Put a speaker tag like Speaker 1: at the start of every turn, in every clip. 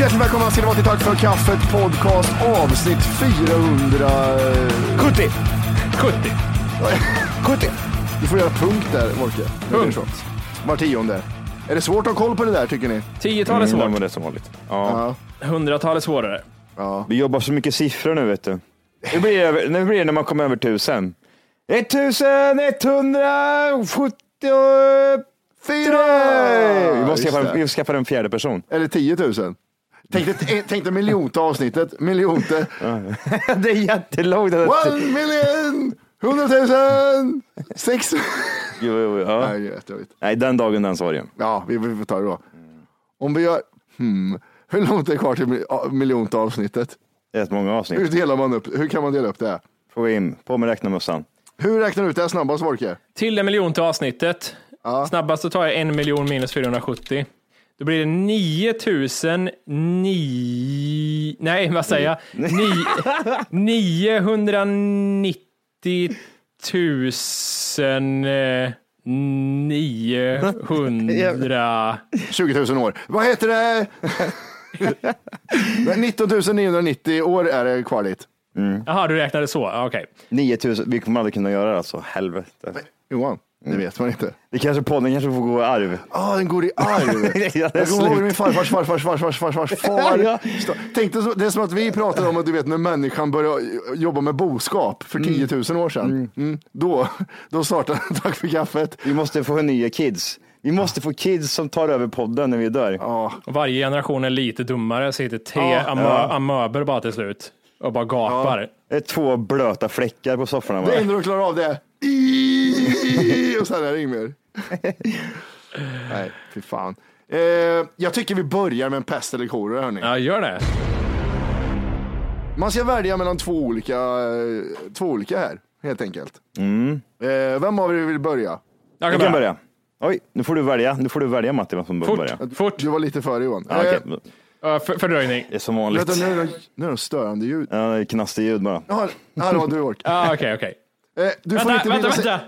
Speaker 1: Hjärtligt välkomna ska ni vara till Tack för kaffet podcast avsnitt 400... 70!
Speaker 2: 70.
Speaker 1: 70! Du får göra punkt där, Wolke. Punkt. Var tionde. Är det svårt att ha koll på det där tycker ni?
Speaker 2: Tiotal är
Speaker 3: Mm,
Speaker 2: svårt,
Speaker 3: men det är som vanligt. Ja.
Speaker 2: hundratal är svårare.
Speaker 3: Vi jobbar så mycket siffror nu, vet du. Det blir, över, det blir när man kommer över tusen. 1170...
Speaker 1: Fyra!
Speaker 3: Vi måste
Speaker 1: Just
Speaker 3: skaffa,
Speaker 1: det.
Speaker 3: vi måste skaffa en fjärde person.
Speaker 1: Eller 10 000. Tänk dig, eh, tänk dig miljonte avsnittet. Miljonte.
Speaker 3: det är jättelångt.
Speaker 1: One million! Hundratusen! Sex...
Speaker 3: Jo, jo, ja.
Speaker 1: Nej, jättejobbigt.
Speaker 3: Nej, den dagen, den sorgen.
Speaker 1: Ja, vi, vi får ta det då. Om vi gör... Hmm. Hur långt är det kvar till mil- a- miljonte avsnittet?
Speaker 3: Det är rätt många avsnitt.
Speaker 1: Hur delar man upp Hur kan man dela upp det?
Speaker 3: Får vi in. På med räknarmössan.
Speaker 1: Hur räknar du ut det här snabbast, Wolke?
Speaker 2: Till en miljon till avsnittet. Snabbast så tar jag en miljon minus 470. Då blir det 9009... Nej, vad säger jag? Ni- 990 000... eh, 900...
Speaker 1: 20 000 år. Vad heter det? Men 19 990 år är det kvar dit.
Speaker 2: Jaha, du räknade så? Ja, Okej.
Speaker 3: 9000. Vi kommer aldrig kunna göra det alltså. Helvete.
Speaker 1: Johan, det vet man inte.
Speaker 3: Det kanske podden kanske får gå i arv.
Speaker 1: Ah, den går i arv.
Speaker 3: Ja, det är
Speaker 1: jag kommer ihåg
Speaker 3: slut.
Speaker 1: min farfars farfars farfars farfars far.
Speaker 3: Ja.
Speaker 1: Stå- Tänk dig så, det är som att vi pratar om att du vet när människan började jobba med boskap för 10 000 år sedan. Mm. Då, då startade Tack för kaffet.
Speaker 3: Vi måste få nya kids. Vi måste få kids som tar över podden när vi dör.
Speaker 2: Och Varje generation är lite dummare, så sitter tre
Speaker 1: Ja.
Speaker 2: amö- amöber bara till slut och bara gapar.
Speaker 3: Det är två blöta fläckar på sofforna.
Speaker 1: Det
Speaker 3: bara.
Speaker 1: enda de klarar av det är "I", och sen är det inget mer. Nej, fy fan. Eh, jag tycker vi börjar med en pest eller kolera hörni.
Speaker 2: Ja, gör det.
Speaker 1: Man ska välja mellan två olika, eh, två olika här, helt enkelt.
Speaker 3: Mm.
Speaker 1: Eh, vem av er vill börja?
Speaker 2: Jag
Speaker 3: Jag
Speaker 2: kan
Speaker 3: kan
Speaker 2: börja.
Speaker 3: börja. Oj, nu får du välja. Nu får du välja Matti vem som
Speaker 2: Fort.
Speaker 3: börjar.
Speaker 2: Fort.
Speaker 1: Du var lite före Johan.
Speaker 3: Ja,
Speaker 1: Eh,
Speaker 3: okej.
Speaker 2: Ja, för, fördröjning.
Speaker 3: Det är som vanligt.
Speaker 1: Vänta, nu är det- nu är det störande ljud.
Speaker 3: Ja, det är knastig ljud bara.
Speaker 1: Jaha, hallå du ork.
Speaker 2: Ja, Okej, okej.
Speaker 1: Eh, du får
Speaker 2: Vänta,
Speaker 1: inte
Speaker 2: vänta,
Speaker 1: bilda sig-
Speaker 2: vänta.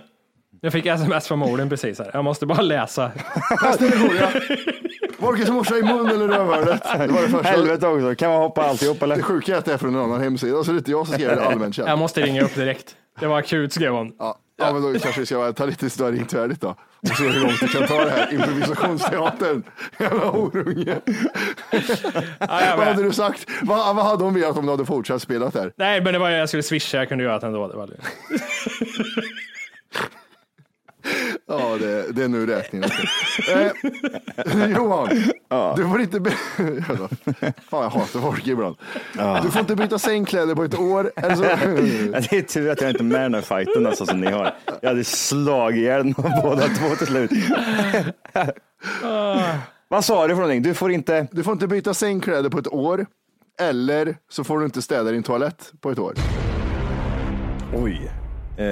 Speaker 2: Jag fick sms från morden precis här. Jag måste bara läsa.
Speaker 1: Pest eller kolera? Wolkers morsa i mun eller rövhålet? Det var det första.
Speaker 3: Helvete också. Kan man hoppa alltihop eller?
Speaker 1: Det sjuka är att det är från en annan hemsida, så det är inte jag som skrev det allmänt känt.
Speaker 2: Jag måste ringa upp direkt. Det var akut skrev hon.
Speaker 1: Ja, ja, men då kanske vi ska ta lite större intvärdigt då. Och se hur långt vi kan ta det här. Improvisationsteatern. Jävla horunge.
Speaker 2: Ja, jag
Speaker 1: Vad hade
Speaker 2: vet.
Speaker 1: du sagt? Vad, vad hade hon velat om du hade fortsatt spela där?
Speaker 2: Nej, men det var jag skulle swisha. Jag kunde göra det ändå. Det var det.
Speaker 1: Ja, det, det är nu räkningen. Eh, Johan, du får inte... Be- Jävlar. Fan, jag hatar folk ibland. Du får inte byta sängkläder på ett år. Alltså,
Speaker 3: Ja, det är tur att jag inte är med i den här fighten alltså, som ni har. Jag hade slagit ihjäl dem båda två till slut. Vad sa du för någonting? Du får inte...
Speaker 1: du får inte byta sängkläder på ett år. Eller så får du inte städa din toalett på ett år.
Speaker 3: Oj. Eh,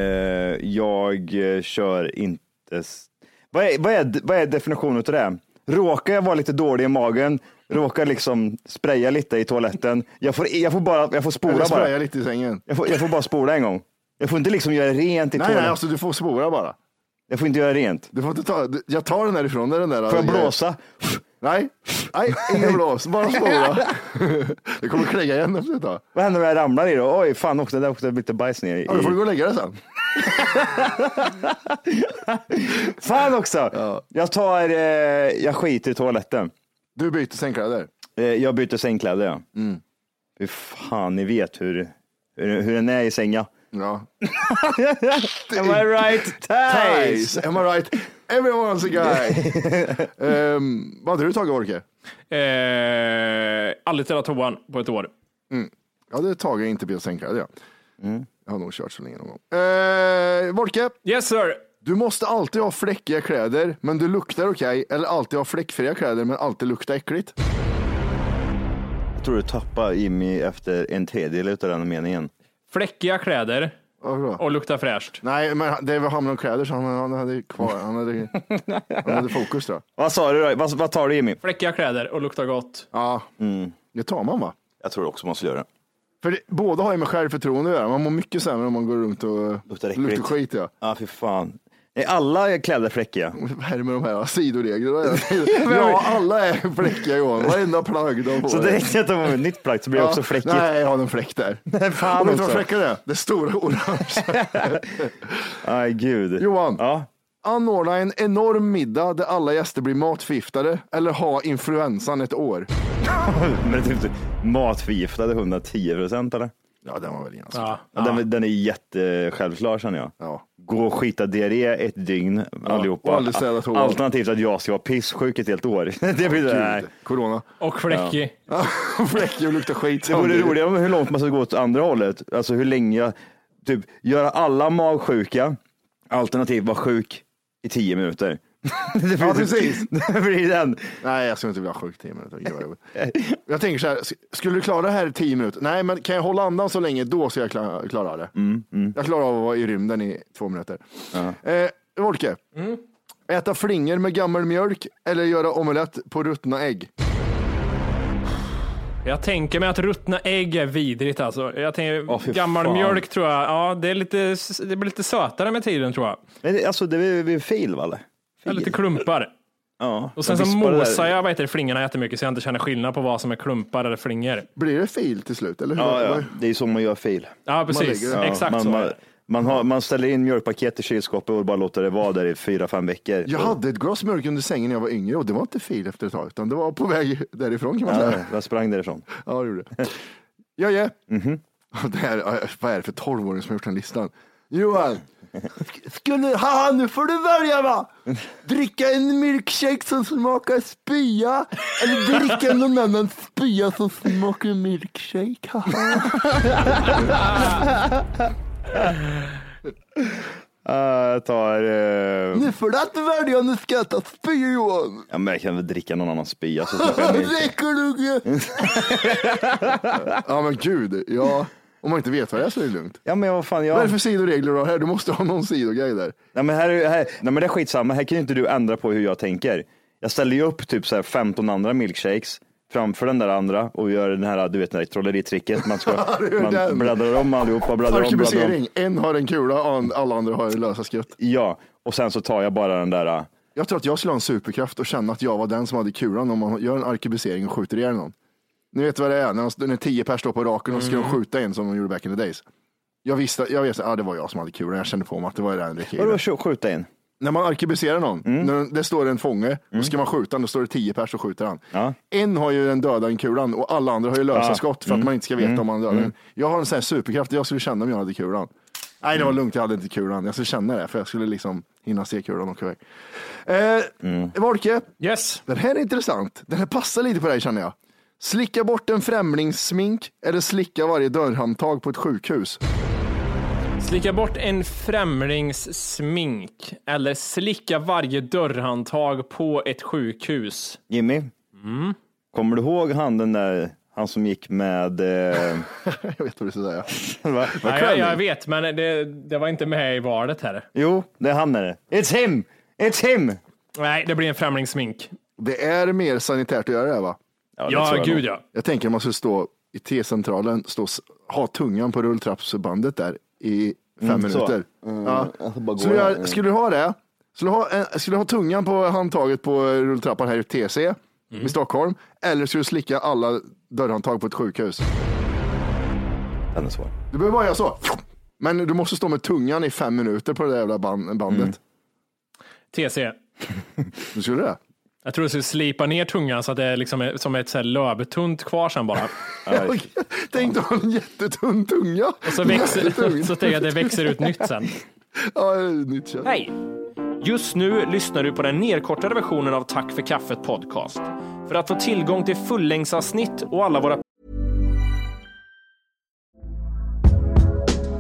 Speaker 3: jag eh, kör inte... s- Vad är, vad är, vad är definitionen av det? Råkar jag vara lite dålig i magen, råkar liksom spraya lite i toaletten. Jag får, jag får bara jag får
Speaker 1: Eller
Speaker 3: spola bara.
Speaker 1: spraya lite i sängen.
Speaker 3: Jag får, jag får bara spola en gång. Jag får inte liksom göra rent i
Speaker 1: Nej,
Speaker 3: toaletten.
Speaker 1: nej, alltså du får spora bara.
Speaker 3: Jag får inte göra rent.
Speaker 1: Du får inte ta, du- jag tar den därifrån. Där den där,
Speaker 3: Får jag blåsa?
Speaker 1: Nej, nej ingen blås, bara spora. Det kommer klia igen efter ett tag.
Speaker 3: Vad händer om jag ramlar i då? Oj, fan också, där åkte lite bajs ner. I.
Speaker 1: Ja, då får du gå och lägga dig sen.
Speaker 3: Fan också! Jag tar, eh, jag skiter i toaletten.
Speaker 1: Du byter sängkläder.
Speaker 3: Eh, jag byter sängkläder ja. Fy fan, ni vet hur, hur, hur den är i sänga.
Speaker 1: Ja.
Speaker 3: Am I right? Thijs!
Speaker 1: Nice, am I right? Everyone's a guy. um, vad hade du tagit Orke?
Speaker 2: Eh, aldrig städat toan på ett år.
Speaker 1: Jag hade tagit inte byta sängkläder. Ja. Jag har nog kört så länge någon gång. Eh, Volke,
Speaker 2: Yes sir!
Speaker 1: du måste alltid ha fläckiga kläder, men du luktar okej. eller alltid ha fläckfria kläder, men alltid luktar äckligt.
Speaker 3: Jag tror du tappar Jimmy efter en tredjedel av den meningen.
Speaker 2: Fläckiga kläder
Speaker 1: Varför då?
Speaker 2: och lukta fräscht.
Speaker 1: Nej, men det var hamnade om kläder, så han, han hade kvar, han hade, han hade fokus då.
Speaker 3: Vad sa du då? Vad, vad tar du Jimmy?
Speaker 2: Fläckiga kläder och lukta gott.
Speaker 1: Ja,
Speaker 3: Mm.
Speaker 1: det tar man va?
Speaker 3: Jag tror också man ska göra det.
Speaker 1: För det, båda har ju med självförtroende att göra. Man mår mycket sämre om man går runt och
Speaker 3: Luktar äckligt.
Speaker 1: luktar skit. Ja.
Speaker 3: Ja, ah, fy fan. Är alla kläder fläckiga?
Speaker 1: Vad är det med de här sidoreglerna? ja, alla är fläckiga Johan. Varenda plagg de får.
Speaker 3: Så direkt jag tar på mig ett nytt plagg så blir det också fläckigt.
Speaker 1: Nej, jag har en fläck där.
Speaker 3: Nej, fan
Speaker 1: och vet du vad
Speaker 3: också.
Speaker 1: fläckar det är? Det stora orange.
Speaker 3: Aj, gud.
Speaker 1: Johan,
Speaker 3: Ja.
Speaker 1: anordna en enorm middag där alla gäster blir matförgiftade eller ha influensan ett år.
Speaker 3: Men typ matförgiftade 110 procent eller?
Speaker 1: Ja, den var väl ganska.
Speaker 2: Ja.
Speaker 3: Ja. Den, den är jättesjälvklar känner jag.
Speaker 1: Ja.
Speaker 3: Gå och skita diarré ett dygn allihopa.
Speaker 1: och aldrig städa toan.
Speaker 3: Alternativt att jag ska vara pisssjuk ett helt år. det blir nej.
Speaker 1: Gud, corona.
Speaker 2: Och fläckig.
Speaker 1: Fläckig och luktar skit.
Speaker 3: Det vore roligare om hur långt man ska gå åt andra hållet. Alltså hur länge, jag- typ göra alla magsjuka, alternativt vara sjuk i tio minuter. det blir,
Speaker 1: Ja, precis.
Speaker 3: Det blir den.
Speaker 1: Nej, jag skulle inte vilja vara sjuk tio minuter. Gud, vad jobbigt. Jag tänker så här, sk- skulle du klara det här i tio minuter? Nej, men kan jag hålla andan så länge, då ska jag klara, klara av det.
Speaker 3: Mm,
Speaker 1: Jag klarar av att vara i rymden i två minuter. Eh, Volke, äta flingor med gammal mjölk eller göra omelett på ruttna ägg?
Speaker 2: Jag tänker mig att ruttna ägg är vidrigt alltså. Jag tänker,
Speaker 3: Åh, fy
Speaker 2: gammal
Speaker 3: fan.
Speaker 2: mjölk tror jag, ja det, är lite, det blir lite sötare med tiden tror jag.
Speaker 3: Men det- Alltså det blir, blir fel va? eller?
Speaker 2: Jag är lite klumpar.
Speaker 3: Ja.
Speaker 2: Och sen
Speaker 3: Jag
Speaker 2: så
Speaker 3: vispar det där.
Speaker 2: mosar jag vad heter det, flingorna jättemycket så jag inte känner skillnad på vad som är klumpar eller flingor.
Speaker 1: Blir det fil till slut? Eller hur?
Speaker 3: Ja, ja, det är så man gör fel.
Speaker 2: Ja precis,
Speaker 1: lägger det.
Speaker 2: exakt
Speaker 3: man,
Speaker 2: så. är
Speaker 3: man,
Speaker 2: det.
Speaker 3: man, har, man ställer in mjölkpaket i kylskåpet och bara låter det vara där i fyra, fem veckor.
Speaker 1: Jag hade ett glas mjölk under sängen när jag var yngre och det var inte fil efter ett tag, utan det var på väg därifrån kan man säga.
Speaker 3: Ja, jag sprang därifrån.
Speaker 1: Ja, det gjorde det. Ja, ja. Det här, vad är det för tolvåring som har gjort den listan? Johan, sk- skulle, haha, nu får du välja va! Dricka en milkshake som smakar spya eller dricka någon annan spya som smakar milkshake. haha.
Speaker 3: Uh, jag tar... eh,
Speaker 1: nu får du att välja, nu ska jag äta spya Johan.
Speaker 3: ja, men jag kan väl dricka någon annans spya. Så slapp jag mig.
Speaker 1: Räcker du? ja men gud, ja. Om man inte vet vad det är så är det lugnt.
Speaker 3: ja, men vad fan,
Speaker 1: Vad är
Speaker 3: jag...
Speaker 1: det för sidoregler du har här? Du måste ha någon sidogrej där.
Speaker 3: Ja, men här, är- här, nej, men det är skitsamma. Här kan ju inte du ändra på hur jag tänker. Jag ställer ju upp typ så här 15 andra milkshakes framför den där andra och gör den här, du vet, den här trolleritricket. Man, ska,
Speaker 1: det är den.
Speaker 3: man bläddrar om allihopa, bläddrar om, bläddrar om.
Speaker 1: Arkebusering. En har en kula och an- alla andra har en lösa skutt.
Speaker 3: Ja, och sen så tar jag bara den där. eh,
Speaker 1: Jag tror att jag skulle ha en superkraft och känna att jag var den som hade kulan om man gör en arkebusering och skjuter ihjäl någon. Ni vet vad det är, när, de, när tio pers står på raken och så ska de skjuta en som de gjorde back in the days. Jag visste, jag visste, ah, det var jag som hade kulan, jag kände på mig att det var den
Speaker 3: Vadå
Speaker 1: killen.
Speaker 3: skj- skjuta in?
Speaker 1: När man arkebuserar någon,
Speaker 3: Mm.
Speaker 1: när det står en fånge och ska man skjuta honom, då står det tio pers och skjuter han.
Speaker 3: Ja.
Speaker 1: En har ju den döda kulan och alla andra har ju lösa
Speaker 3: Ja. Mm.
Speaker 1: skott för att man inte ska veta om man dödar den. Jag har en sån här superkraft, jag skulle känna om jag hade kulan. Nej, det
Speaker 3: Mm.
Speaker 1: var lugnt. Jag hade inte kulan. Jag skulle känna det, för jag skulle liksom hinna se kulan åka iväg. Eh,
Speaker 3: Mm.
Speaker 1: Volke,
Speaker 2: Yes.
Speaker 1: den här är intressant. Den här passar lite på dig känner jag. Slicka bort en främlingssmink eller slicka varje dörrhandtag på ett sjukhus.
Speaker 2: Slicka bort en främlings smink eller slicka varje dörrhandtag på ett sjukhus.
Speaker 3: Jimmy, kommer du ihåg han den där, han som gick med, eh,
Speaker 1: Jag vet vad du ska säga.
Speaker 3: va?
Speaker 2: Ja, jag, jag vet, men det, det var inte med i valet här.
Speaker 3: jo, det är han är det. It's him! It's him!
Speaker 2: Nej, det blir en främlingssmink.
Speaker 1: Det är mer sanitärt att göra det här va?
Speaker 3: det tror
Speaker 2: Ja,
Speaker 3: jag nog.
Speaker 2: gud ja.
Speaker 1: Jag tänker man skulle stå i T-centralen, stå, s- ha tungan på rulltrappsbandet där i fem
Speaker 3: Mm, så.
Speaker 1: minuter. Ja.
Speaker 3: alltså bara gå
Speaker 1: Skulle,
Speaker 3: där.
Speaker 1: jag, skulle du ha det? Skulle du ha, en- skulle du ha tungan på handtaget på rulltrappan här i TC
Speaker 3: Mm.
Speaker 1: i Stockholm? Eller skulle du slicka alla dörrhandtag på ett sjukhus?
Speaker 3: Den är svår.
Speaker 1: Du behöver bara göra så. Men du måste stå med tungan i fem minuter på det där jävla ban- bandet.
Speaker 3: Mm.
Speaker 2: TC.
Speaker 1: Du skulle det?
Speaker 2: Jag tror du skulle slipa ner tungan så att det är liksom ett- som ett så här lövtunt kvar sen bara.
Speaker 1: Tänk dig att ha en jättetunn tunga.
Speaker 2: Så, växer, så tänker jag att det växer ut nytt sen.
Speaker 1: Ja, det är nytt kött.
Speaker 2: Hej! Just nu lyssnar du på den nedkortade versionen av Tack för kaffet podcast. För att få tillgång till fullängdsavsnitt och alla våra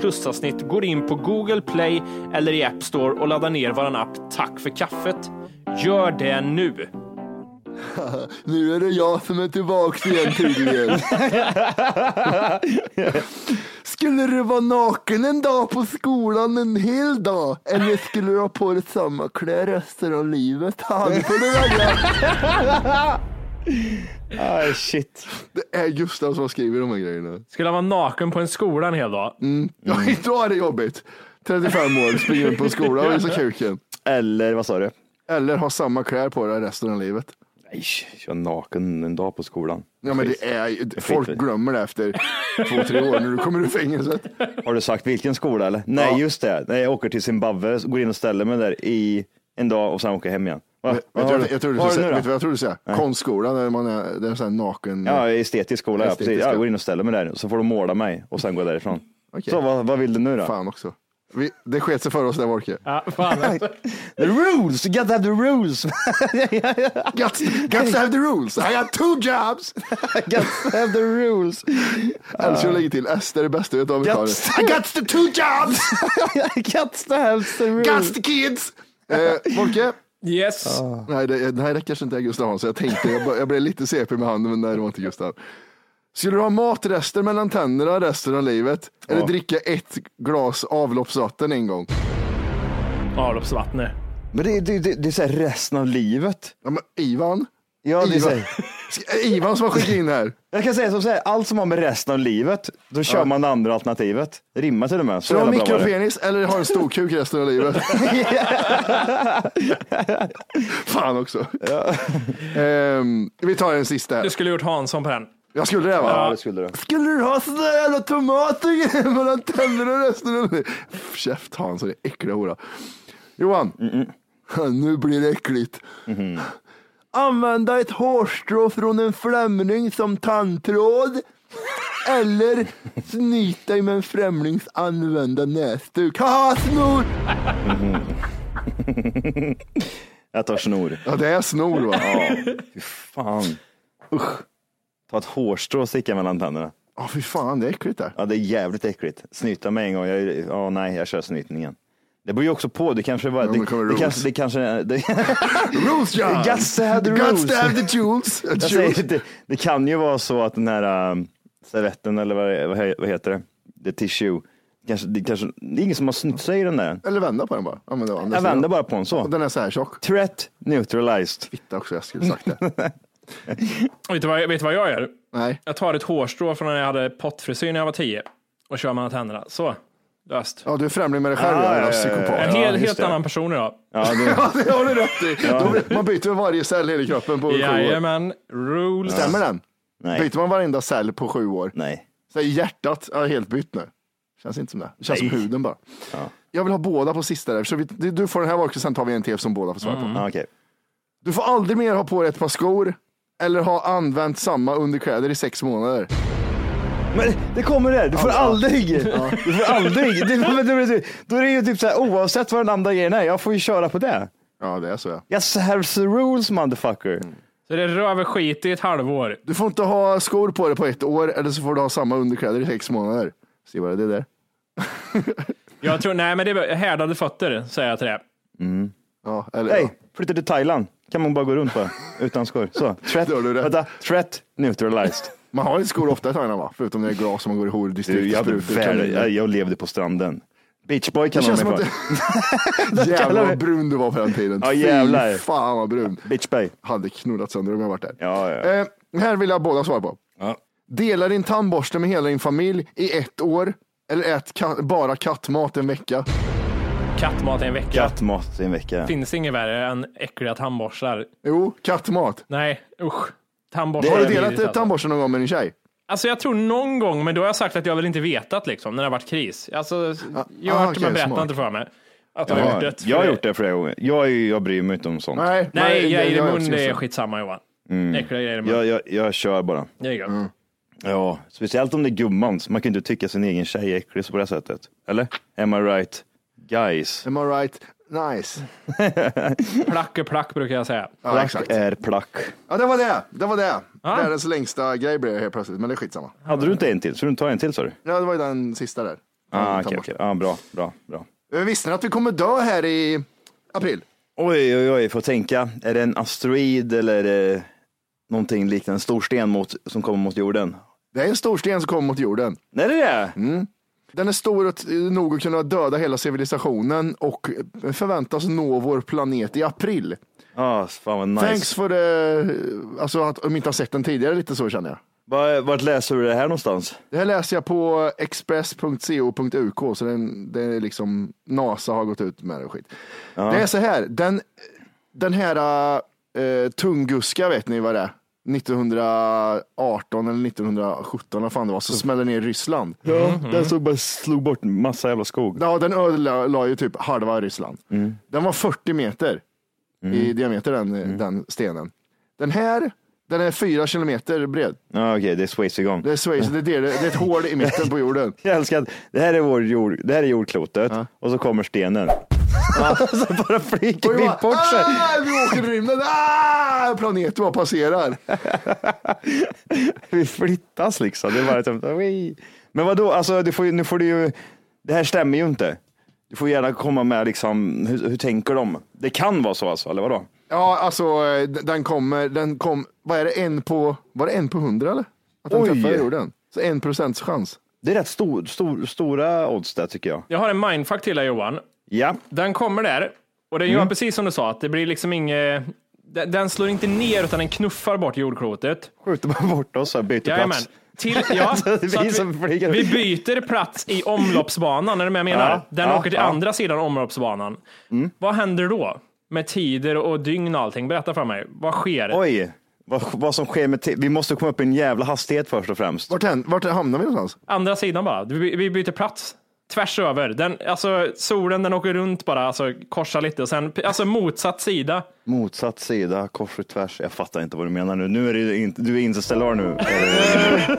Speaker 2: plusavsnitt går in på Google Play eller i App Store och laddar ner vår app Tack för kaffet. Gör det nu!
Speaker 1: Nu är det jag som är tillbaka igen tydligen. skulle du vara naken en dag på skolan en hel dag? Eller skulle du ha på dig samma kläder resten av livet? Ja, det får du välja.
Speaker 3: Ah, shit.
Speaker 1: Det är Gustav som skriver de här grejerna.
Speaker 2: Skulle han vara naken på en skola en hel dag?
Speaker 3: Mm.
Speaker 1: Ja, idag är det jobbigt. 35 år, springer runt på skolan och visar kuken.
Speaker 3: Eller vad sa du?
Speaker 1: Eller ha samma kläder på dig resten av livet.
Speaker 3: Nej, jag var naken en dag på skolan.
Speaker 1: Ja, men det är, folk
Speaker 3: Skit.
Speaker 1: glömmer det efter två, tre år när du kommer ur fängelset.
Speaker 3: Har du sagt vilken skola eller? Nej,
Speaker 1: Ja.
Speaker 3: just det. Nej, jag åker till Zimbabwe, går in och ställer mig där i en dag och sen åker jag hem igen. Va?
Speaker 1: Vet du
Speaker 3: Vad har
Speaker 1: vad
Speaker 3: du-
Speaker 1: jag tror du
Speaker 3: vad
Speaker 1: ska
Speaker 3: har du
Speaker 1: säga?
Speaker 3: nu
Speaker 1: Vet
Speaker 3: då?
Speaker 1: du vad jag tror du ska säga? Konstskolan, där man är, där är sån här naken.
Speaker 3: Ja, estetisk skola, ja, precis.
Speaker 1: Estetiska.
Speaker 3: Ja, Jag går in och ställer mig där så får de måla mig och sen går jag därifrån.
Speaker 1: Okej.
Speaker 3: Så vad, vad vill du nu då?
Speaker 1: Fan också. Vi, det sket sig för oss där Wolke.
Speaker 2: Ja, fan.
Speaker 3: The rules! You gotta have the rules!
Speaker 1: Guts, guts to have the rules. I got two jobs.
Speaker 3: gotta have the rules!
Speaker 1: Älskar att lägga till S, det är det bästa jag vet av
Speaker 3: Guts.
Speaker 1: Italien. I got the two jobs.
Speaker 3: gotta have the
Speaker 1: Guts the kids. Eh, Wolke,
Speaker 2: Yes.
Speaker 1: nej det, det här kanske inte är Gustav Hansson. Jag tänkte, jag, bara- jag blev lite CP med handen, men nej det var inte Gustav. Skulle du ha matrester mellan tänderna resten av livet? Eller
Speaker 3: Ja.
Speaker 1: dricka ett glas avloppsvatten en gång?
Speaker 2: Avloppsvattnet.
Speaker 3: Men det, det, det, det är så här resten av livet.
Speaker 1: Ja, men Ivan?
Speaker 3: Ja, det är så
Speaker 1: Ivan,
Speaker 3: här,
Speaker 1: Ivan som har skickat in här.
Speaker 3: jag kan säga som så här, allt som har med resten av livet, då kör man det andra alternativet. Det rimmar till och med. Så
Speaker 1: Du har
Speaker 3: jävla bra var det.
Speaker 1: mikropenis eller har en stor kuk resten av livet. Fan också. Ehm, vi tar en sista
Speaker 2: Du
Speaker 1: här.
Speaker 2: skulle gjort Hansson på den.
Speaker 1: Jag skulle det va?
Speaker 3: Ja, det skulle du.
Speaker 1: Skulle du ha sådana jävla tomater mellan tänderna resten av livet? Pff, Käft Hansson, din äckliga hora. Johan, nu blir det äckligt. Använda ett hårstrå från en främling som tandtråd. Eller snyta dig med en främlings använda näsduk. Haha, snor!
Speaker 3: Jag tar snor.
Speaker 1: Ja, det är snor va?
Speaker 3: Ja, fy fan. Usch. Ta ett hårstrå och sticka mellan tänderna.
Speaker 1: Ja, fy fan, det är äckligt det.
Speaker 3: Ja, det är jävligt äckligt. Snyta mig en gång. Jag, ja, nej, jag kör snytningen. Det beror ju också på. Det kanske var...
Speaker 1: Ja,
Speaker 3: det,
Speaker 1: men kommer
Speaker 3: det,
Speaker 1: rules.
Speaker 3: kanske, det kanske... Det,
Speaker 1: Rules, John!
Speaker 3: Guts to have the
Speaker 1: Guts
Speaker 3: rules.
Speaker 1: to have the jewels.
Speaker 3: jag säger, det, det kan ju vara så att den här ähm, servetten eller vad, det- vad, he- vad heter det? Det tissue. Kanske, det, kanske, det är ingen som har snytt sig i den där.
Speaker 1: Eller vända på den bara. Ja, men det var andra
Speaker 3: Jag vänder
Speaker 1: sidan.
Speaker 3: bara på en
Speaker 1: Och
Speaker 3: så.
Speaker 1: Den är så här tjock.
Speaker 3: Threat neutralized.
Speaker 1: Fitta också, jag skulle sagt det.
Speaker 2: Vet du, vad, vet du vad jag gör?
Speaker 1: Nej.
Speaker 2: Jag tar ett hårstrå från när jag hade pottfrisyr när jag var tio och kör mellan tänderna. Så, löst.
Speaker 1: Ja, du är främling med dig själv,
Speaker 3: Ah,
Speaker 1: ah, jävla
Speaker 3: ja, ja, ja.
Speaker 1: psykopat.
Speaker 2: En hel,
Speaker 3: just
Speaker 2: helt
Speaker 3: det.
Speaker 2: annan person idag.
Speaker 3: Ja, det,
Speaker 1: Ja, det har du rätt i. Då blir- Man byter varje cell i hela kroppen på sju år.
Speaker 2: Jajamän, rules.
Speaker 1: Stämmer den?
Speaker 3: nej,
Speaker 1: Byter man varenda cell på sju år?
Speaker 3: nej.
Speaker 1: Säg hjärtat, jag har helt bytt nu. Känns inte som det. Det känns som
Speaker 3: Nej.
Speaker 1: huden bara. Jag vill ha båda på sista där. Så vi, du får den här bak, sen tar vi en till som båda får svara på.
Speaker 3: Ja, Ah, okej.
Speaker 1: Du får aldrig mer ha på dig ett par skor eller ha använt samma underkläder i sex månader.
Speaker 3: Men det kommer det, du får aldrig. Du får aldrig. Det, men, du, du, då är det ju typ så här, oavsett vad den andra grejen är, jag får ju köra på det.
Speaker 1: Ja, det är så ja.
Speaker 3: Yes, here's the rules motherfucker.
Speaker 1: Mm.
Speaker 2: Så det röver skit i ett halvår.
Speaker 1: Du får inte ha skor på dig på ett år eller så får du ha samma underkläder i sex månader. Se vad det är där.
Speaker 2: Jag tror, nej men det är härdade fötter, säger jag till det.
Speaker 1: Ja, eller,
Speaker 3: Hej, flytta till Thailand. Kan man bara gå runt på utan skor. Så, threat,
Speaker 1: Då har du rätt.
Speaker 3: vänta, threat neutralized.
Speaker 1: Man har inte skor ofta i Thailand va? Förutom när det är glas som man går i
Speaker 3: Du,
Speaker 1: hordistrikt
Speaker 3: jag,
Speaker 1: och
Speaker 3: hade
Speaker 1: sprutor.
Speaker 3: väl,
Speaker 1: kaniner.
Speaker 3: jag, jag levde på stranden. Beachboy
Speaker 1: Det
Speaker 3: kallar
Speaker 1: känns
Speaker 3: de
Speaker 1: som
Speaker 3: mig
Speaker 1: att
Speaker 3: för.
Speaker 1: du... Jävlar
Speaker 3: kallar
Speaker 1: vad
Speaker 3: vi-
Speaker 1: brun du var på den tiden.
Speaker 3: Ja, jävlar.
Speaker 1: Fy fan vad brun.
Speaker 3: Beachboy.
Speaker 1: Hade knullat sönder om jag varit där.
Speaker 3: Ja, ja.
Speaker 1: Eh, här vill jag båda svara på.
Speaker 3: Ja.
Speaker 1: Dela din tandborste med hela din familj i ett år eller ät ka- bara kattmat en vecka.
Speaker 2: Kattmat i en vecka.
Speaker 3: Kattmat i en vecka.
Speaker 2: Finns inget värre än äckliga tandborstar.
Speaker 1: Jo, kattmat.
Speaker 2: Nej, usch. Tandborstar.
Speaker 1: Har
Speaker 2: är
Speaker 1: du delat
Speaker 2: vidrigt,
Speaker 1: ett tandborste någon gång med din tjej?
Speaker 2: Alltså jag tror någon gång, men då har jag sagt att jag väl inte vetat liksom, när det har varit kris. Alltså, jag
Speaker 1: ah,
Speaker 2: har
Speaker 1: okej,
Speaker 2: men berättar
Speaker 1: smart.
Speaker 2: inte för mig. Att jag har
Speaker 3: Ja,
Speaker 2: gjort det.
Speaker 3: jag har
Speaker 2: För-
Speaker 3: gjort det flera gånger. Jag, är ju- jag bryr mig inte om sånt.
Speaker 1: Nej,
Speaker 2: Nej, grejer i
Speaker 1: jag- Mm. jag-
Speaker 2: mun, det är
Speaker 1: jag-
Speaker 2: skitsamma Johan. Äckliga grejer i mun.
Speaker 3: Jag, jag, jag kör bara.
Speaker 2: Det är gött.
Speaker 1: Mm.
Speaker 3: Ja, speciellt om det är gummans. Man kan ju inte tycka sin egen tjej är äcklig på det här sättet. Eller? Am I right? Guys.
Speaker 1: Am I right? Nice.
Speaker 2: Plack är plack brukar jag säga.
Speaker 1: Ja,
Speaker 3: Plack
Speaker 1: exakt.
Speaker 3: är plack.
Speaker 1: Ja, det var det. Det var det.
Speaker 2: Ja.
Speaker 1: Världens längsta grej blev det helt plötsligt, men det är skitsamma.
Speaker 3: Hade du inte en till? Så du tar en till sa du?
Speaker 1: Ja, det var ju den sista där.
Speaker 3: Ah,
Speaker 1: Tandborste.
Speaker 3: okej, okej. Ah, bra, bra, bra.
Speaker 1: Eh, Visste ni att vi kommer dö här i april?
Speaker 3: Oj, oj, oj, får tänka. Är det en asteroid eller är det någonting liknande? En stor sten mot, som kommer mot jorden?
Speaker 1: Det är en stor sten som kommer mot jorden.
Speaker 3: Nej, det är det?
Speaker 1: Mm. Den är stor och t- nog att kunna döda hela civilisationen och eh, förväntas nå vår planet i april.
Speaker 3: Ah, fan vad nice.
Speaker 1: Thanks för det, alltså att om inte har sett den tidigare lite så känner jag.
Speaker 3: Var, vart läser du det här någonstans?
Speaker 1: Det här läser jag på express.co.uk så den, det är liksom NASA har gått ut med det och skit. Det är så här, den, den här eh, tungguska vet ni vad det är? 1918 eller 1917 vad fan det var, så smäller ner Ryssland.
Speaker 3: Ja, den såg bara slog bort massa jävla Mm. skog.
Speaker 1: Ja, den ödelade ju typ halva Ryssland. Den var 40 meter i
Speaker 3: Mm.
Speaker 1: diameter den, den stenen. Den här, den är fyra kilometer bred.
Speaker 3: ah, okej, det är Swayzegon.
Speaker 1: Det är, Schweiz, det, är, det, det är ett hål i mitten på jorden.
Speaker 3: Jag älskar att det här är, vår jord, det här är jordklotet och så kommer stenen. så bara flyger
Speaker 1: Och
Speaker 3: vi
Speaker 1: jag bara,
Speaker 3: bort sig.
Speaker 1: "Ah, vi åker i rymden, ah, planeten bara passerar.
Speaker 3: Vi flyttas liksom. Det är bara typ, "Oi." Men vadå, alltså, du får, ju- nu får du ju, det här stämmer ju inte. Du får gärna komma med liksom, hur, hur tänker de? Det kan vara så alltså, eller vadå?
Speaker 1: Ja, alltså eh, d- den kommer, den kom, vad är det, en på, var det en på hundra eller? Att den
Speaker 3: Oj.
Speaker 1: träffar jorden. Så en procents chans.
Speaker 3: Det är rätt stor, stor, stora odds där tycker jag.
Speaker 2: Jag har en mindfuck till dig Johan.
Speaker 3: Ja,
Speaker 2: Den kommer där och den gör
Speaker 3: Mm.
Speaker 2: precis som du sa, att det blir liksom inget... Den den slår inte ner utan den knuffar bort jordklotet.
Speaker 3: skjuter bara bort oss och byter
Speaker 2: Jajamän.
Speaker 3: plats.
Speaker 2: Till, ja,
Speaker 3: Så det är
Speaker 2: så att
Speaker 3: vi som flyger.
Speaker 2: vi byter plats i omloppsbanan, är du med jag menar?
Speaker 3: Ja,
Speaker 2: Den
Speaker 3: ja, Mm.
Speaker 2: åker till
Speaker 3: ja.
Speaker 2: andra sidan omloppsbanan. Vad händer då? Med tider och dygn och allting. Berätta för mig. Vad sker?
Speaker 3: Oj, vad, vad som sker med te- Vi måste komma upp i en jävla hastighet först och främst.
Speaker 1: Vart, hän- vart hamnar vi någonstans?
Speaker 2: Andra sidan bara. Vi, vi byter plats. tvärs över. Den, alltså, solen den åker runt bara, alltså, korsar lite och sen alltså, motsatt sida.
Speaker 3: Motsatt sida, kors och tvärs. Jag fattar inte vad du menar nu. Nu är det ju inte, du är interstellar nu.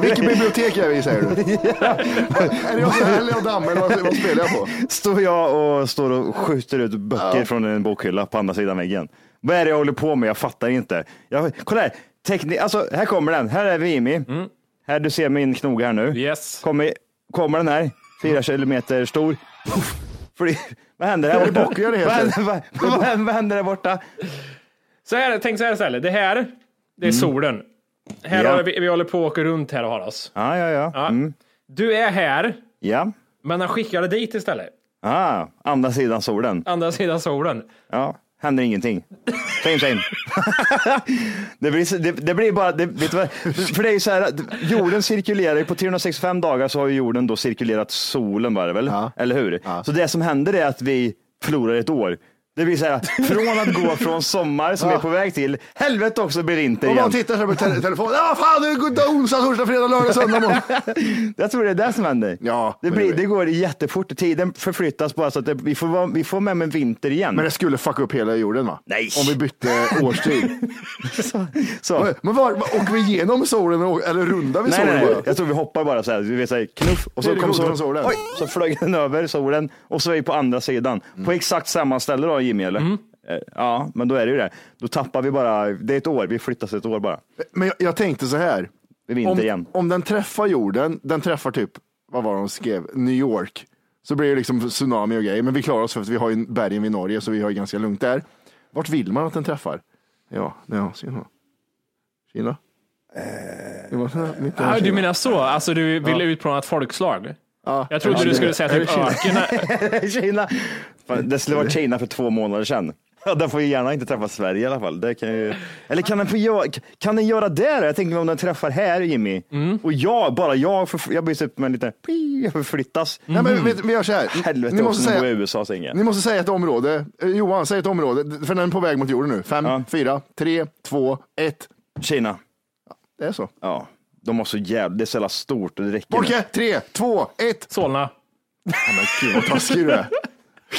Speaker 1: Vilket bibliotek är vi i säger du? är det jag som är jag damm eller vad, vad spelar jag på?
Speaker 3: står jag och står och skjuter ut böcker från en bokhylla på andra sidan väggen. Vad är det jag håller på med? Jag fattar inte. Jag, kolla här, teknik, alltså, här kommer den. Här är vi Jimmy. Här, du ser min knoge här nu.
Speaker 2: Mm. Yes.
Speaker 3: Kommer, kommer den här, fyra kilometer stor. Puff. Fly- vad händer här borta?
Speaker 1: bockar det heter.
Speaker 3: vad, händer, vad, vad, händer, vad händer där borta?
Speaker 2: Så här, tänk så här istället. Det här, det är solen. Här
Speaker 3: Ja.
Speaker 2: har vi, vi håller på att åka runt här och har oss.
Speaker 3: Ja, ja, ja.
Speaker 2: Ja.
Speaker 3: Ja. Mm,
Speaker 2: Du är här,
Speaker 3: ja.
Speaker 2: men han skickade dit istället.
Speaker 3: Ah, andra sidan solen.
Speaker 2: Andra sidan solen.
Speaker 3: Ja, händer ingenting. Same same. det, blir, det, det blir bara, det, vet du vad? För det är ju så här, att jorden cirkulerar ju på 365 dagar så har ju jorden då cirkulerat solen var det väl?
Speaker 1: Ja.
Speaker 3: Eller hur?
Speaker 1: Ja.
Speaker 3: Så det som händer är att vi förlorar ett år. Det blir så här, från att gå från sommar som vi är på väg till, helvete också blir det inte
Speaker 1: Om man
Speaker 3: igen.
Speaker 1: tittar så här på te- telefonen. Ja, fan, det är onsdag, torsdag, fredag, lördag, söndag morgon.
Speaker 3: Jag tror det är det som händer.
Speaker 1: Ja,
Speaker 3: det,
Speaker 1: men
Speaker 3: blir,
Speaker 1: det-
Speaker 3: det går jättefort, tiden förflyttas bara så att det, vi, får, vara- vi får med en vinter igen.
Speaker 1: Men det skulle fucka upp hela jorden va?
Speaker 3: Nej.
Speaker 1: Om vi bytte årstid.
Speaker 3: så.
Speaker 1: Men var, var, åker vi igenom solen och- eller rundar vi
Speaker 3: Nej,
Speaker 1: solen
Speaker 3: nej, nej.
Speaker 1: bara?
Speaker 3: Jag tror vi hoppar bara så här. Vi vet så här knuff och
Speaker 1: Det
Speaker 3: så
Speaker 1: är det
Speaker 3: kom
Speaker 1: goda
Speaker 3: solen.
Speaker 1: från solen.
Speaker 3: Oj, så flög den över solen och så är vi på andra sidan.
Speaker 1: Mm.
Speaker 3: På exakt samma ställe då Jimmy, eller? Eh, Ja, men då är det ju det. Då tappar vi bara, det är ett år, vi flyttas ett år bara.
Speaker 1: Men jag, jag tänkte så här.
Speaker 3: Det är vinter
Speaker 1: Om,
Speaker 3: igen.
Speaker 1: om den träffar jorden, den träffar typ, vad var det de skrev, New York. Så blir det liksom tsunami och grejer. Men vi klarar oss för att vi har ju bergen vid Norge så vi har ju ganska lugnt där. Vart vill man att den träffar? Ja, ja Kina. Kina?
Speaker 3: Eh,
Speaker 1: Det var så här, mitt i
Speaker 2: Ah, du
Speaker 1: Kina.
Speaker 2: menar så? Alltså du vill utplåna ett folkslag?
Speaker 1: Ja.
Speaker 2: Jag trodde
Speaker 1: Ja,
Speaker 2: du
Speaker 1: det-
Speaker 2: skulle säga
Speaker 1: är det
Speaker 2: typ
Speaker 1: Kina?
Speaker 2: öken.
Speaker 3: Kina. Fan, Det skulle varit Kina för två månader sedan. Ja, den får ju gärna inte träffa Sverige i alla fall. Det kan ju... Eller kan den, få göra, kan den göra det? då? Jag tänker om den träffar här Jimmy
Speaker 1: Mm.
Speaker 3: och jag, bara jag, förf- jag blir typ med lite, jag förflyttas.
Speaker 1: Nej, men vet- vi gör så här.
Speaker 3: Helvete
Speaker 1: Mm. ni,
Speaker 3: också,
Speaker 1: måste
Speaker 3: säga... bor i
Speaker 1: säga,
Speaker 3: USA Inge.
Speaker 1: ni måste säga ett område. Eh, Johan, säg ett område. För den är på väg mot jorden nu. Fem,
Speaker 3: Ja.
Speaker 1: fyra, tre, två, ett.
Speaker 3: Kina.
Speaker 1: Det är så.
Speaker 3: Ja, de har så jävla, det är så jävla stort och det räcker.
Speaker 1: Borke, tre, två, ett.
Speaker 2: Solna.
Speaker 1: Ja, men gud vad taskig du är.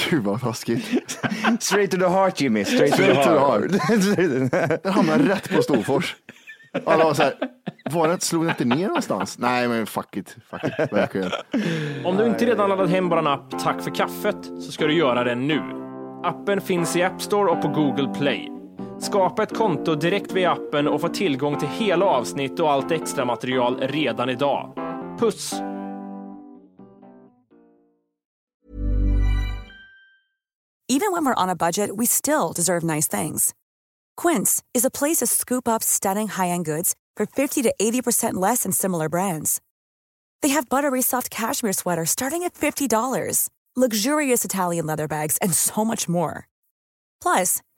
Speaker 1: Gud vad taskigt.
Speaker 3: Straight to the heart Jimmy, straight to the
Speaker 1: Straight to the
Speaker 3: heart.
Speaker 1: Den hamnar rätt på Storfors. Alla var så här, var det, slog det inte ner någonstans? Nej, men fuck it. Fuck it, verkligen.
Speaker 2: Om du inte redan laddat hem bara en app Tack för kaffet så ska du göra det nu. Appen finns i App Store och på Google Play. Skapa ett konto direkt via appen och få tillgång till hela avsnitt och allt extra material redan idag. Puss!
Speaker 4: Even when we're on a budget, we still deserve nice things. Quince is a place to scoop up stunning high-end goods for 50 to 80% less than similar brands. They have buttery soft cashmere sweaters starting at $50, luxurious Italian leather bags, and so much more. Plus,